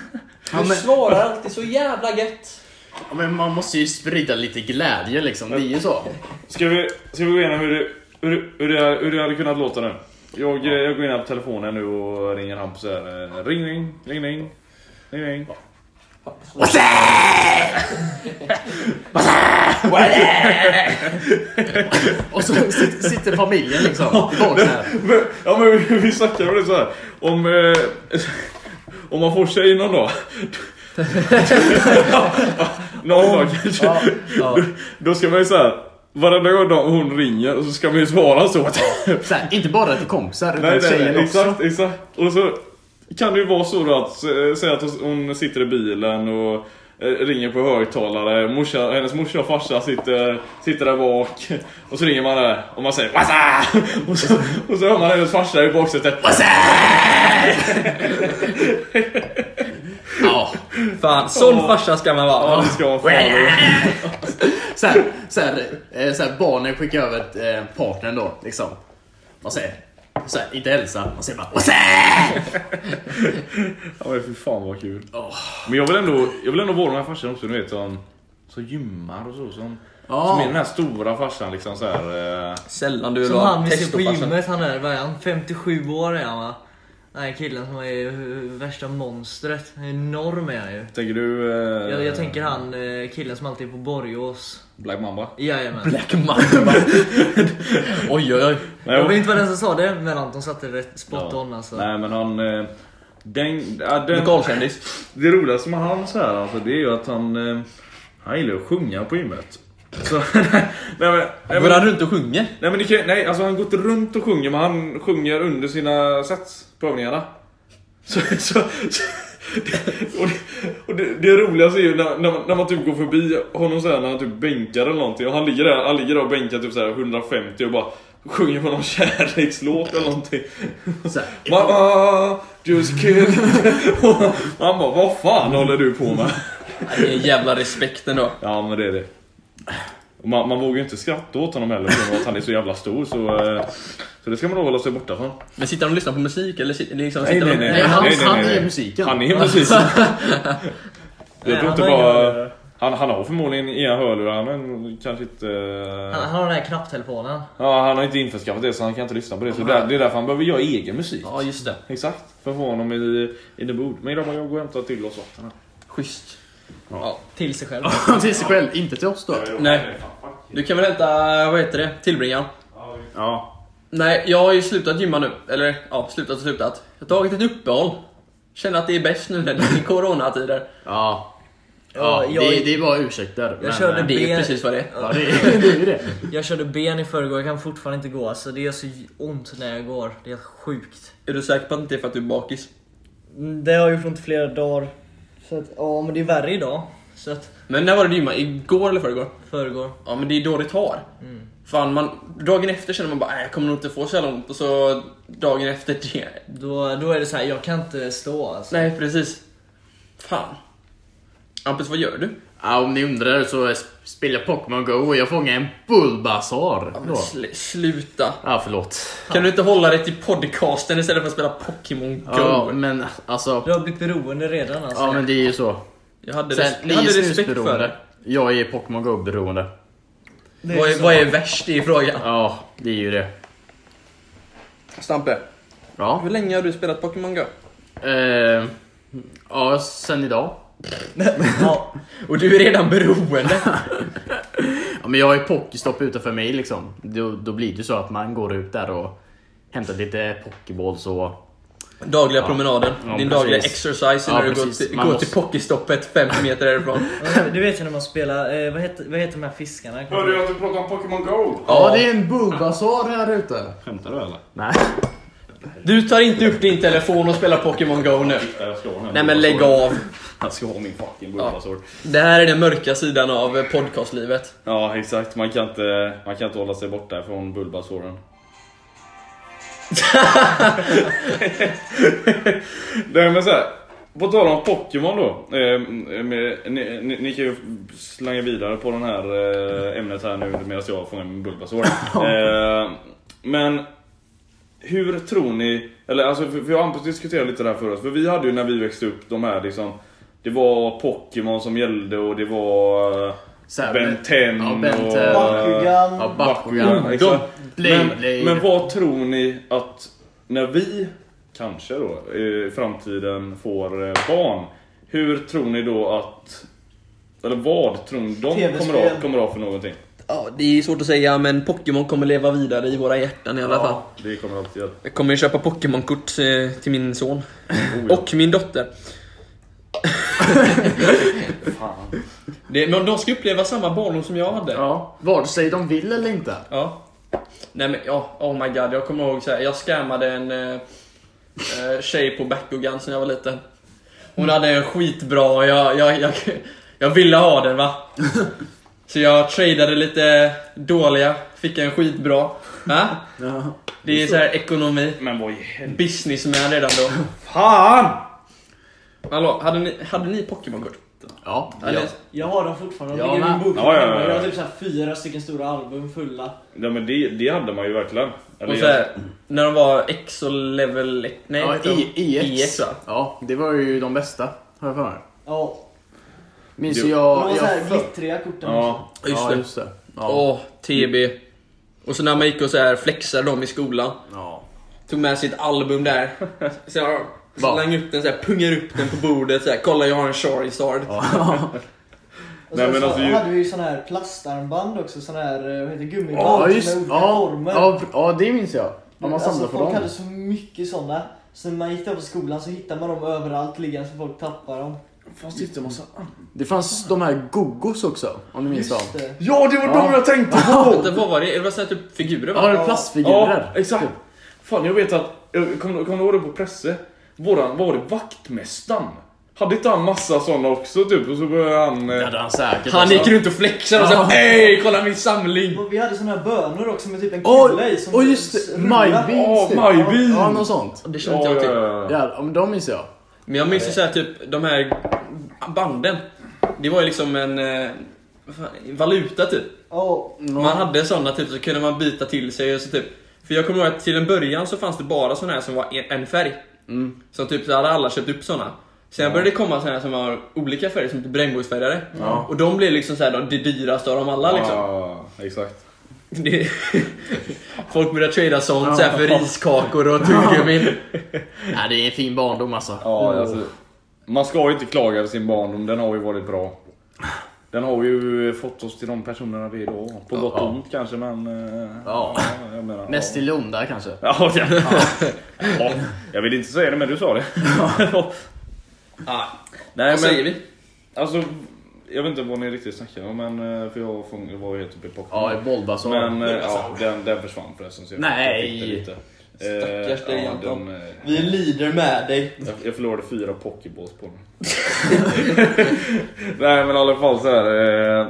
Speaker 4: Ja, men-
Speaker 6: svarar alltid så jävla gött.
Speaker 4: Ja, Men man måste ju sprida lite glädje liksom. Det är ju så.
Speaker 2: Ska vi, ska vi gå igenom hur det, hur, hur, det, hur det hade kunnat låta nu? Jag, eh, jag går in här på telefonen nu och ringer Hampus här. eh, Ring ring, ring ring. Ring ring.
Speaker 4: Och så sit- sitter familjen liksom bak där.
Speaker 2: Men, ja men vi, vi snackade om det så här. Om, eh, om man får tjej någon dag. någon dag kanske. Då, då ska man ju såhär. Varenda gång de- hon ringer och så ska man ju svara så.
Speaker 4: Så här, inte bara till kompisar utan
Speaker 2: Nej, nej,
Speaker 4: tjejen
Speaker 2: nej,
Speaker 4: också.
Speaker 2: exakt, exakt. Och så kan det ju vara så då att, eh, säga att hon sitter i bilen och eh, ringer på högtalare, morsa, hennes morsa och farsa sitter, sitter där bak och så ringer man där och man säger Wassa! Och så, och så hör man hennes farsa i baksätet Wassa!
Speaker 4: Ja.
Speaker 3: Fan, sån farsa ska man vara.
Speaker 2: Ja, det ska man fan göra.
Speaker 4: Så här, så här, eh, så här, barnen skickar över ett, eh, partnern då liksom. Man säger, så här, inte hälsa, man säger bara "Åh, så här!"
Speaker 2: Ja men fy fan vad kul.
Speaker 4: Åh.
Speaker 2: Men jag vill ändå, jag vill ändå vara den här farsan också, du vet som, som gymmar och så. Som,
Speaker 4: Ja.
Speaker 2: som är den här stora farsan liksom så här. Eh,
Speaker 3: Sällan du vill
Speaker 5: Som
Speaker 3: vara
Speaker 5: han vi ser på
Speaker 3: testofarsan.
Speaker 5: gymmet, han är, vad är han? 57 år är han va? Den här killen som är eh, värsta monstret. Enorm är han ju.
Speaker 2: tänker du... Eh,
Speaker 5: Jag, jag tänker han eh, killen som alltid är på Borgås.
Speaker 2: Black Mamba?
Speaker 5: Jajamän.
Speaker 3: Black Mamba. oj, oj, oj.
Speaker 5: Jag vet inte vad den som sa det, men Anton satte rätt spot on alltså.
Speaker 2: Nej men han... eh, Den, ja, den,
Speaker 3: Lokalkändis.
Speaker 2: det roligaste med han så här, alltså, det är ju att han... eh, Han gillar att sjunga på gymmet. Så, nej, men, nej,
Speaker 3: Går
Speaker 2: men,
Speaker 3: han runt och sjunger?
Speaker 2: nej, men det kan, nej, alltså han går inte runt och sjunger men han sjunger under sina sets på övningarna. Så, så, så, och det, och det, det roligaste är ju när, när, man, när man typ går förbi honom så här, när han typ bänkar eller någonting och han ligger där, han ligger där och bänkar typ så här 150 och bara sjunger på någon kärlekslåt eller någonting.
Speaker 4: Så här,
Speaker 2: Mamma, just kill. Han bara, vad fan håller du på med?
Speaker 3: Nej, Det är en jävla respekt ändå.
Speaker 2: Ja men det är det. Och Man, man vågar ju inte skratta åt honom heller på grund av att han är så jävla stor så, eh, så det ska man nog hålla sig borta från.
Speaker 3: Men sitter han och lyssnar på musik eller sit- liksom
Speaker 2: Nej,
Speaker 3: sitter
Speaker 2: nej,
Speaker 3: han-
Speaker 2: nej.
Speaker 4: Nej, han,
Speaker 2: nej, nej,
Speaker 4: han
Speaker 2: nej.
Speaker 4: är musiken.
Speaker 2: Han är precis Jag
Speaker 5: Nej,
Speaker 2: tror inte
Speaker 5: han har
Speaker 2: bara...
Speaker 5: ingen-
Speaker 2: Han, han har förmodligen inga hörlurar men kanske inte... eh,
Speaker 5: Han, han har den här knapptelefonen.
Speaker 2: Ja, han har inte införskaffat det så han kan inte lyssna på det. Så det, det är därför han behöver göra egen musik.
Speaker 3: Ja, just det.
Speaker 2: Exakt, för att få honom i, i the mood. Men grabbar, jag går och hämtar till oss vatten här.
Speaker 3: Schysst.
Speaker 5: Till sig själv.
Speaker 4: till sig själv, inte till oss då.
Speaker 3: Nej. Du kan väl hämta, vad heter det, tillbringaren?
Speaker 4: Ja.
Speaker 3: Nej, jag har ju slutat gymma nu. Eller ja, slutat och slutat. Jag har tagit ett uppehåll. Känner att det är bäst nu när det är coronatider.
Speaker 4: Ja.
Speaker 5: Ja,
Speaker 4: ja
Speaker 5: jag-
Speaker 4: det, det är bara ursäkter. men,
Speaker 5: körde
Speaker 4: eh,
Speaker 3: Det är ju
Speaker 5: Ben-
Speaker 3: precis vad det är.
Speaker 4: Ja, det, är- det är ju det.
Speaker 5: Jag körde ben i förrgår, jag kan fortfarande inte gå alltså. Det gör så ont när jag går. Det är helt sjukt. Mm,
Speaker 3: Är du säker på att det inte är för att du är bakis?
Speaker 5: Det har gjort ont i flera dagar. Så att, ja men det är värre idag. Så att,
Speaker 3: Men när var det du gymmade? Igår eller förrgår? Mm.
Speaker 5: förrgår.
Speaker 3: Ja men det är då det tar. Fan, man, dagen efter känner man bara "Äh, jag kommer nog inte få så jävla ont och så dagen efter det.
Speaker 5: Då, då är det så här, jag kan inte stå alltså.
Speaker 3: Nej precis. Fan. Hampus vad gör du?
Speaker 4: Ja, om ni undrar så spelar jag Pokémon Go och jag fångar en Bulbasaur.
Speaker 3: Ja, men
Speaker 4: då.
Speaker 3: sl- sluta.
Speaker 4: Ja, förlåt.
Speaker 3: Kan du inte hålla dig till podcasten istället för att spela Pokémon Go?
Speaker 4: Ja, men alltså.
Speaker 5: Du har blivit beroende redan alltså.
Speaker 4: Ja, men det är ju så.
Speaker 3: Jag hade,
Speaker 4: Sen,
Speaker 3: res-
Speaker 4: ni
Speaker 3: jag
Speaker 4: är
Speaker 3: hade respekt för
Speaker 4: snusberoende.
Speaker 3: det.
Speaker 4: Jag är Pokémon Go-beroende.
Speaker 3: Vad är, vad är värst i frågan?
Speaker 4: Ja, det är ju det.
Speaker 3: Stampe,
Speaker 4: Ja.
Speaker 3: hur länge har du spelat Pokémon Go?
Speaker 4: Eh, ja, sen idag.
Speaker 5: Ja,
Speaker 3: Och du är redan beroende.
Speaker 4: Ja, men jag har ju Pokéstopp utanför mig liksom. Då, då blir det så att man går ut där och hämtar lite Pokéballs och...
Speaker 3: dagliga promenaden,
Speaker 4: Ja,
Speaker 3: din
Speaker 4: precis.
Speaker 3: dagliga exercise
Speaker 4: Ja,
Speaker 3: när du går
Speaker 4: precis.
Speaker 3: till,
Speaker 4: Man
Speaker 3: går
Speaker 4: måste-
Speaker 3: till Pokéstoppet 50 meter därifrån.
Speaker 5: du vet ju när man spelar, eh, vad, heter, vad heter de här fiskarna?
Speaker 2: Hörde du att du pratade om Pokémon Go?
Speaker 3: Ja,
Speaker 4: det är en Bulbasaur här ute!
Speaker 2: Skämtar du eller?
Speaker 4: Nej.
Speaker 3: Du tar inte upp din telefon och spelar Pokémon Go nu.
Speaker 2: Jag ska ha den här
Speaker 3: Nej men lägg
Speaker 2: Bulbasaur.
Speaker 3: av.
Speaker 2: Jag ska ha min fucking Bulbasaur.
Speaker 3: Det här är den mörka sidan av eh, podcastlivet.
Speaker 2: Ja. exakt, man kan, inte, man kan inte hålla sig borta från Bulbasauren. Nej men såhär, på tal om Pokémon då. Eh, med, ni, ni, ni kan ju slänga vidare på den här eh, ämnet här nu medan jag fångar min Bulbasaur. eh, men hur tror ni, eller alltså för, för jag och Hampus diskuterade lite där förut. För vi hade ju när vi växte upp de här liksom, det var Pokémon som gällde och det var eh,
Speaker 4: Så här,
Speaker 2: Ben 10
Speaker 4: ja, Ben 10.
Speaker 2: och...
Speaker 4: Ja,
Speaker 7: Bakugan.
Speaker 4: Bakugan.
Speaker 2: exakt.
Speaker 4: Blade,
Speaker 2: Mm, men,
Speaker 4: Blade.
Speaker 2: men vad tror ni att när vi, kanske då, i framtiden får eh, barn. Hur tror ni då att, eller vad tror ni de kommer
Speaker 7: TV-spel.
Speaker 2: att, kommer att ha för någonting?
Speaker 3: Ja, det är svårt att säga, men Pokémon kommer leva vidare i våra hjärtan i alla fall.
Speaker 2: Det kommer alltid göra.
Speaker 3: Jag kommer ju köpa Pokémon-kort eh, till min son. Och min dotter. det, men de ska uppleva samma barndom som jag hade.
Speaker 4: Ja, vare sig de vill eller inte.
Speaker 3: Ja. Nej men ja, oh my god. Jag kommer ihåg så här, jag scammade en eh, eh, tjej på Bakugan när jag var liten. Hon hade en skitbra, jag, jag, jag, jag ville ha den va. Så jag tradeade lite dåliga, fick en skitbra. Va?
Speaker 4: Ja.
Speaker 3: Det är så här ekonomi.
Speaker 2: Men vad i helvete?
Speaker 3: Businessman redan då.
Speaker 2: Fan!
Speaker 3: Hallå, hade ni, hade ni Pokémon-kort?
Speaker 4: Ja.
Speaker 3: Eller-
Speaker 7: Jag har dem fortfarande.
Speaker 4: Ja,
Speaker 7: De ligger i
Speaker 4: men-
Speaker 7: min bok.
Speaker 2: Ja, ja, ja, ja.
Speaker 7: Jag har typ så här fyra stycken stora album fulla.
Speaker 2: Ja men det, det hade man ju verkligen. Eller,
Speaker 3: Och så här, när de var X och level... Nej,
Speaker 4: ja
Speaker 3: heter de?
Speaker 4: I, IX.
Speaker 3: IX va?
Speaker 4: Ja, det var ju de bästa, har jag för mig.
Speaker 7: Ja.
Speaker 4: Minns
Speaker 2: Jo.
Speaker 4: ju
Speaker 7: De
Speaker 4: jag...
Speaker 7: har
Speaker 4: jag
Speaker 7: så här
Speaker 4: för...
Speaker 7: glittriga korten.
Speaker 2: ja,
Speaker 3: Just
Speaker 4: Ja,
Speaker 3: det.
Speaker 4: just det. Ja.
Speaker 3: Åh, TB. Och så när man gick och så här flexade dem i skolan.
Speaker 4: Ja.
Speaker 3: Tog med sitt album där. Så jag
Speaker 4: Va?
Speaker 3: slang upp den, så här, pungar upp den på bordet. Så här, Kolla jag har en Charizard.
Speaker 7: Och
Speaker 2: Nej,
Speaker 7: sen
Speaker 2: men
Speaker 7: så
Speaker 2: alltså ju-
Speaker 7: hade vi ju såna här plastarmband också, såna här eh, vad heter det, gummiband
Speaker 4: Ja,
Speaker 7: med
Speaker 4: just
Speaker 7: olika
Speaker 4: ja,
Speaker 7: former.
Speaker 4: ja, ja, det minns jag. Ja, man samlade
Speaker 7: alltså,
Speaker 4: på
Speaker 7: folk hade
Speaker 4: dem.
Speaker 7: så mycket såna. Så när man gick där på skolan så hittade man dem överallt liggande så folk tappade dem.
Speaker 2: Fast det är massa...
Speaker 4: Det fanns de här Gogos också, om ni minns dem.
Speaker 7: Just det.
Speaker 2: Ja det var
Speaker 4: Ja.
Speaker 2: de jag tänkte
Speaker 3: Oh.
Speaker 2: på!
Speaker 3: Vad var det? Det var så här, typ figurer
Speaker 4: Ja,
Speaker 3: va?
Speaker 4: det är plastfigurer.
Speaker 2: Ja, exakt. Fan jag vet att, jag kommer kom du ihåg det på Presse? Våran, vad var det, vaktmästaren? Hade inte han massa sådana också typ? Och så började han... eh,
Speaker 4: Det hade han säkert.
Speaker 3: Han
Speaker 4: alltså.
Speaker 3: gick runt och flexade och
Speaker 4: Ja.
Speaker 3: sa Hej, kolla min samling!
Speaker 7: Och vi hade såna här bönor också med typ en
Speaker 4: Åh,
Speaker 7: kula i som
Speaker 4: åh, just det.
Speaker 7: rullar.
Speaker 4: Majbin.
Speaker 2: Åh, Majbin!
Speaker 4: Ja, något sånt.
Speaker 3: Det kände
Speaker 2: Ja,
Speaker 3: inte jag till.
Speaker 2: ja, ja.
Speaker 4: Ja, typ. ja, men de minns jag.
Speaker 3: Men jag minns ju så här, typ de här banden. Det var ju liksom en eh, vad fan, valuta typ.
Speaker 7: Ja,
Speaker 3: Man hade såna typ så kunde man byta till sig och så typ För jag kommer ihåg att till en början så fanns det bara såna här som var en- en färg
Speaker 2: Mm.
Speaker 3: Så typ så hade alla köpt upp såna Sen började det komma såna här som var olika färger som typ regnbågsfärgade Och de blev liksom så här, de, det dyraste av dem alla liksom
Speaker 2: Ja, exakt.
Speaker 3: det, Folk började trada sånt så här för riskakor och tuggummin
Speaker 4: Nej, det är en fin barndom alltså.
Speaker 2: Ja, alltså, man ska ju inte klaga över sin barndom, den har ju varit bra. Den har ju fått oss till de personerna vi är idag. På gott och ont kanske men... eh,
Speaker 4: Ja.
Speaker 2: jag menar,
Speaker 4: Mest
Speaker 2: ja.
Speaker 4: till det onda kanske.
Speaker 2: Ja, ja. ja. ja, jag vill inte säga det men du sa det.
Speaker 3: ja,
Speaker 2: Nej,
Speaker 3: Vad säger
Speaker 2: men,
Speaker 3: vi?
Speaker 2: alltså, jag vet inte vad ni riktigt snackar om men eh, för jag fång- jag var ju helt uppe i
Speaker 4: Ja,
Speaker 2: Pokémon.
Speaker 4: i Bulbasaur.
Speaker 2: men eh, ja, den, den försvann förresten. Så jag
Speaker 4: Nej.
Speaker 2: fick det lite. Eh,
Speaker 3: Stackars dig,
Speaker 2: ja,
Speaker 3: Anton.
Speaker 2: den, eh,
Speaker 3: Vi lider med dig
Speaker 2: Jag, jag förlorade fyra pokéballs på den. Nej men i alla fall så här. Eh,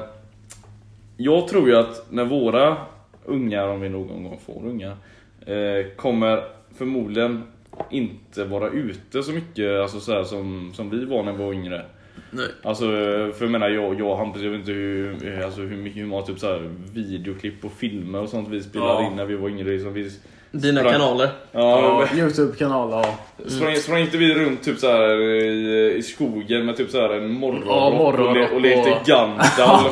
Speaker 2: jag tror ju att när våra ungar, om vi någon gång får ungar, eh, kommer förmodligen inte vara ute så mycket alltså så här, som, som vi var när vi var yngre.
Speaker 3: Nej.
Speaker 2: Alltså, eh, för jag menar jag jag och Hampus, jag vet inte hur, eh, alltså, hur mycket hur många typ så här, videoklipp och filmer och sånt vi spelade
Speaker 4: Ja.
Speaker 2: in när vi var yngre. Liksom, vi,
Speaker 3: Dina
Speaker 2: Bra.
Speaker 3: kanaler
Speaker 2: ja,
Speaker 4: Ja, Youtube-kanal, ja.
Speaker 2: Sprang, sprang inte vi runt typ så här i, i skogen med typ så här en morgonrock
Speaker 4: Ja,
Speaker 2: och, le,
Speaker 4: morgonrock
Speaker 2: och lekte
Speaker 4: och-
Speaker 2: Gandalf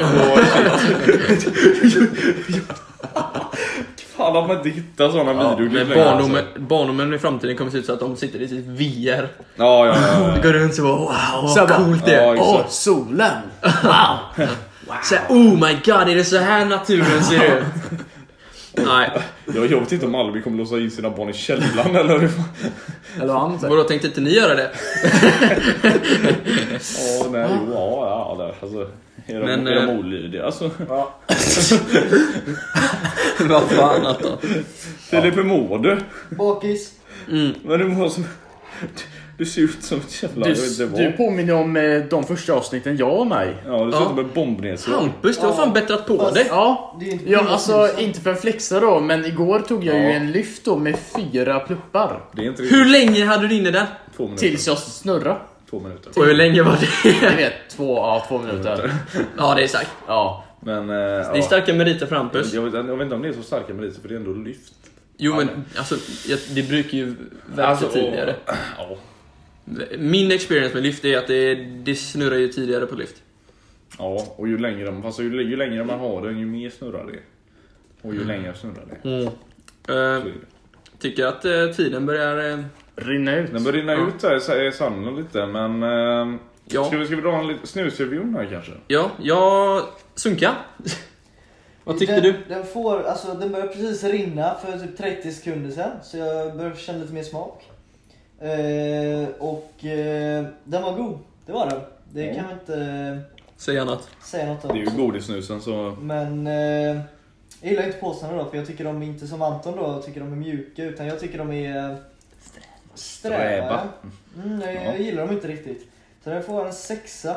Speaker 2: och Fan att man inte hittar sådana
Speaker 4: Ja,
Speaker 2: videoklipp
Speaker 3: Men
Speaker 2: längre, alltså.
Speaker 3: barndomen, barndomen i framtiden kommer se ut så att de sitter i sitt VR
Speaker 2: Ja, ja, ja, ja.
Speaker 3: Går runt så bara wow vad
Speaker 4: Så jag bara,
Speaker 3: coolt det
Speaker 2: ja,
Speaker 3: är.
Speaker 4: Åh,
Speaker 2: exakt.
Speaker 4: solen! Wow!
Speaker 3: Så här, oh my god, är det så här naturen ser ut? Nej,
Speaker 2: Jag, jag vet inte om Albi kommer låsa in sina barn i källaren eller hur fan-
Speaker 4: Eller vad han säger.
Speaker 3: vadå tänkte inte ni göra det?
Speaker 2: Ja, nej, jo, ja, ja, där. Alltså, är de,
Speaker 3: Men,
Speaker 2: är de
Speaker 3: eh,
Speaker 2: olydiga alltså?
Speaker 3: Vad fan Anton?
Speaker 2: Filip, hur mår du?
Speaker 7: bakis.
Speaker 2: Men du mår som... Du ser ut som ett jävla... jag vet inte
Speaker 4: Du,
Speaker 2: vad.
Speaker 4: du påminner om eh, de första avsnitten jag och mig.
Speaker 2: Ja, du ser ut
Speaker 3: Ja.
Speaker 2: som ett bombnedslag.
Speaker 3: Hampus, du har fan bättrat på
Speaker 7: Fast-
Speaker 3: dig.
Speaker 4: Ja,
Speaker 7: Det är ju inte
Speaker 4: ja
Speaker 7: på
Speaker 4: alltså
Speaker 7: något vis.
Speaker 4: inte för att flexa då, men igår tog jag ju
Speaker 2: Ja.
Speaker 4: en lyft då med fyra pluppar.
Speaker 2: Det är inte
Speaker 3: Hur
Speaker 2: riktigt
Speaker 3: länge hade du inne den?
Speaker 2: två minuter.
Speaker 4: Tills jag snurrade.
Speaker 2: Två minuter.
Speaker 3: Och hur länge var det?
Speaker 4: Ni vet, två, ja, två minuter.
Speaker 3: Ja, det är starkt.
Speaker 4: Ja.
Speaker 2: Men... Eh,
Speaker 3: Det är
Speaker 2: ja.
Speaker 3: starka meriter för Hampus.
Speaker 2: jag, vet, jag vet inte om det är så starka meriter, för det är ändå lyft.
Speaker 3: Jo men alltså, jag, det brukar ju verka
Speaker 2: Alltså, och-
Speaker 3: tidigare.
Speaker 2: Ja.
Speaker 3: Min experience med lyft är att det, det snurrar ju tidigare på lyft.
Speaker 2: Ja, och ju längre, de, fast ju, ju längre man har den, ju mer snurrar det. Och ju längre snurrar det.
Speaker 3: Eh,
Speaker 2: Så är det.
Speaker 3: tycker att eh, tiden börjar... eh,
Speaker 4: Rinna ut.
Speaker 2: Den börjar rinna
Speaker 3: Ja.
Speaker 2: ut här i sa- i sanden lite, men... Eh,
Speaker 3: Ja.
Speaker 2: ska, vi, ska vi dra en liten snusrevion här kanske?
Speaker 3: ja, jag sunka. Vad tyckte
Speaker 7: den,
Speaker 3: du?
Speaker 7: Den, får, alltså, den började precis rinna för typ 30 sekunder sedan så jag började känna lite mer smak. Eh, och eh, den var god, det var den. Det kan man inte eh,
Speaker 3: Säg annat.
Speaker 7: säga något
Speaker 2: Det är
Speaker 7: om.
Speaker 2: ju godissnusen så...
Speaker 7: Men eh, jag gillar inte påsarna då för jag tycker de är inte som Anton då tycker de är mjuka utan jag tycker de är eh, sträva.
Speaker 2: Sträva.
Speaker 7: Mm, jag, jag gillar dem inte riktigt. Så den får en sexa.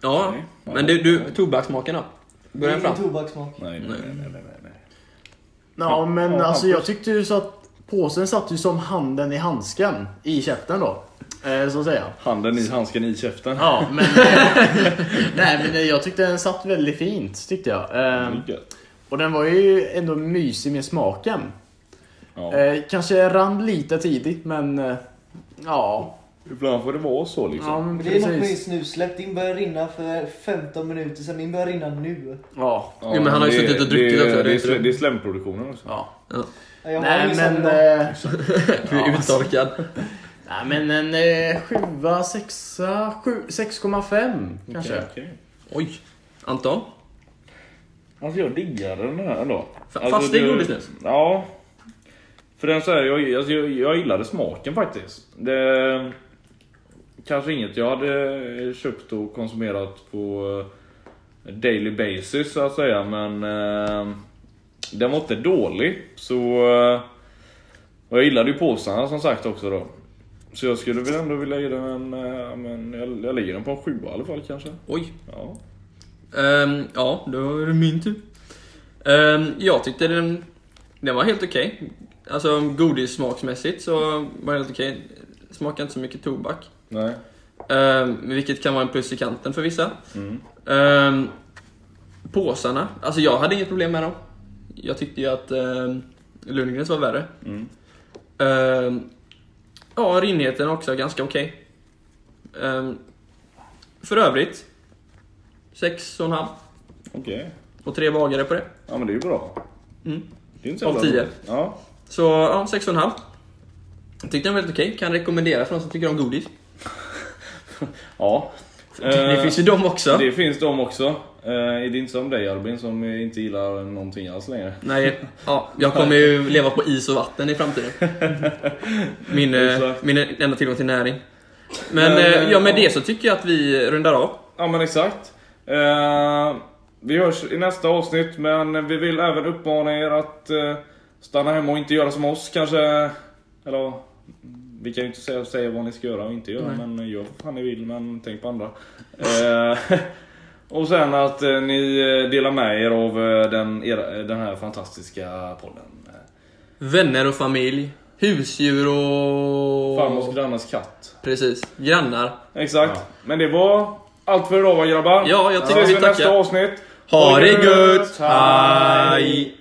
Speaker 3: Ja,
Speaker 2: Nej.
Speaker 3: men du, du tobaksmaken då?
Speaker 7: Det är
Speaker 3: Börja
Speaker 7: ingen
Speaker 3: fram.
Speaker 7: tobaksmak.
Speaker 2: Nej, nej, nej, nej, nej, nej.
Speaker 4: Ja, men
Speaker 2: Ja,
Speaker 4: alltså jag tyckte ju så att påsen satt ju som handen i handsken i käften då. Eh, så att säga.
Speaker 2: Handen i handsken i käften.
Speaker 4: Ja, men... nej, men eh, jag tyckte den satt väldigt fint, tyckte jag. Eh,
Speaker 2: Det är gött.
Speaker 4: och den var ju ändå mysig med smaken.
Speaker 2: Ja.
Speaker 4: Eh, kanske rann lite tidigt, men... Eh, ja,
Speaker 2: Ibland får det vara så liksom.
Speaker 4: ja, men
Speaker 7: Men det är något med min
Speaker 4: precis.
Speaker 7: snusläpp. Din börjar rinna för 15 minuter sedan. Min börjar rinna nu.
Speaker 4: Ja,
Speaker 2: Ja,
Speaker 3: Jo, men han har ju
Speaker 2: det-
Speaker 3: suttit och druckit
Speaker 2: det,
Speaker 3: också,
Speaker 2: det,
Speaker 3: det
Speaker 2: det,
Speaker 3: är
Speaker 2: är
Speaker 3: inte
Speaker 2: slä-
Speaker 3: det.
Speaker 2: det är slämproduktionen också.
Speaker 4: ja.
Speaker 7: Jag har
Speaker 4: Nej,
Speaker 7: liksom-
Speaker 4: men... Eh,
Speaker 3: Du är uttorkad.
Speaker 4: nej, men en eh, sjua, sexa, sju, 6,5 kanske.
Speaker 2: Okej, okej.
Speaker 3: Oj. Anton?
Speaker 2: Alltså jag diggar den här ändå.
Speaker 3: Fa-
Speaker 2: alltså,
Speaker 3: fast det är
Speaker 2: du-
Speaker 3: godisnus?
Speaker 2: Ja. För den så här, jag, alltså, jag, jag gillade smaken faktiskt. Det, kanske inget jag hade köpt och konsumerat på eh, daily basis så att säga men eh, den var inte dålig. Så, eh, och jag gillade ju påsarna som sagt också då. Så jag skulle väl ändå vilja ge den en, eh, men jag, jag lägger den på en sjua i alla fall kanske.
Speaker 3: Oj.
Speaker 2: Ja.
Speaker 3: Ehm, ja, då var det min tur. Ehm, jag tyckte den, den var helt okej. Alltså godissmaksmässigt så var den helt okej. Smakade inte så mycket tobak.
Speaker 2: Nej.
Speaker 3: Ehm, vilket kan vara en plus i kanten för vissa.
Speaker 2: Mm.
Speaker 3: Ehm, påsarna, alltså jag hade inget problem med dem. Jag tyckte ju att um, Lundgrens var värre.
Speaker 2: Mm.
Speaker 3: Ehm, ja, rinnigheten också ganska okej. Ehm, för övrigt, 6,5
Speaker 2: Okej.
Speaker 3: och tre bagare på det.
Speaker 2: Ja men det är ju bra.
Speaker 3: Mm.
Speaker 2: Det är inte
Speaker 3: Av
Speaker 2: jävla
Speaker 3: tio.
Speaker 2: dåligt. Ja.
Speaker 3: Så ja, 6,5. Jag tyckte den var helt okej. Kan rekommendera för de som tycker om godis.
Speaker 2: ja.
Speaker 3: Det,
Speaker 2: Eh,
Speaker 3: finns ju dem också.
Speaker 2: Det finns de också. Eh, är det inte som dig Albin som inte gillar någonting alls längre?
Speaker 3: Nej, ja, jag kommer ju leva på is och vatten i framtiden. Min, eh,
Speaker 2: Exakt.
Speaker 3: min enda tillgång till näring. Men,
Speaker 2: Men,
Speaker 3: eh,
Speaker 2: eh,
Speaker 3: ja, med
Speaker 2: ja.
Speaker 3: det så tycker jag att vi rundar av.
Speaker 2: Ja men exakt. Eh, vi hörs i nästa avsnitt men vi vill även uppmana er att eh, stanna hemma och inte göra som oss kanske. Eller vi kan ju inte säga, säga vad ni ska göra och inte göra men gör vad fan ni vill men tänk på andra. Eh, och sen att eh, ni eh, delar med er av eh, den, era, den här fantastiska podden.
Speaker 3: Vänner och familj, husdjur och...
Speaker 2: Farmors grannars katt.
Speaker 3: Precis, grannar.
Speaker 2: Exakt. Men det var allt för idag va grabbar?
Speaker 3: Ja, jag tycker
Speaker 2: ses
Speaker 3: vi
Speaker 2: i nästa
Speaker 3: tackar.
Speaker 2: avsnitt.
Speaker 3: Ha det gött!
Speaker 2: Hej!
Speaker 3: Hej!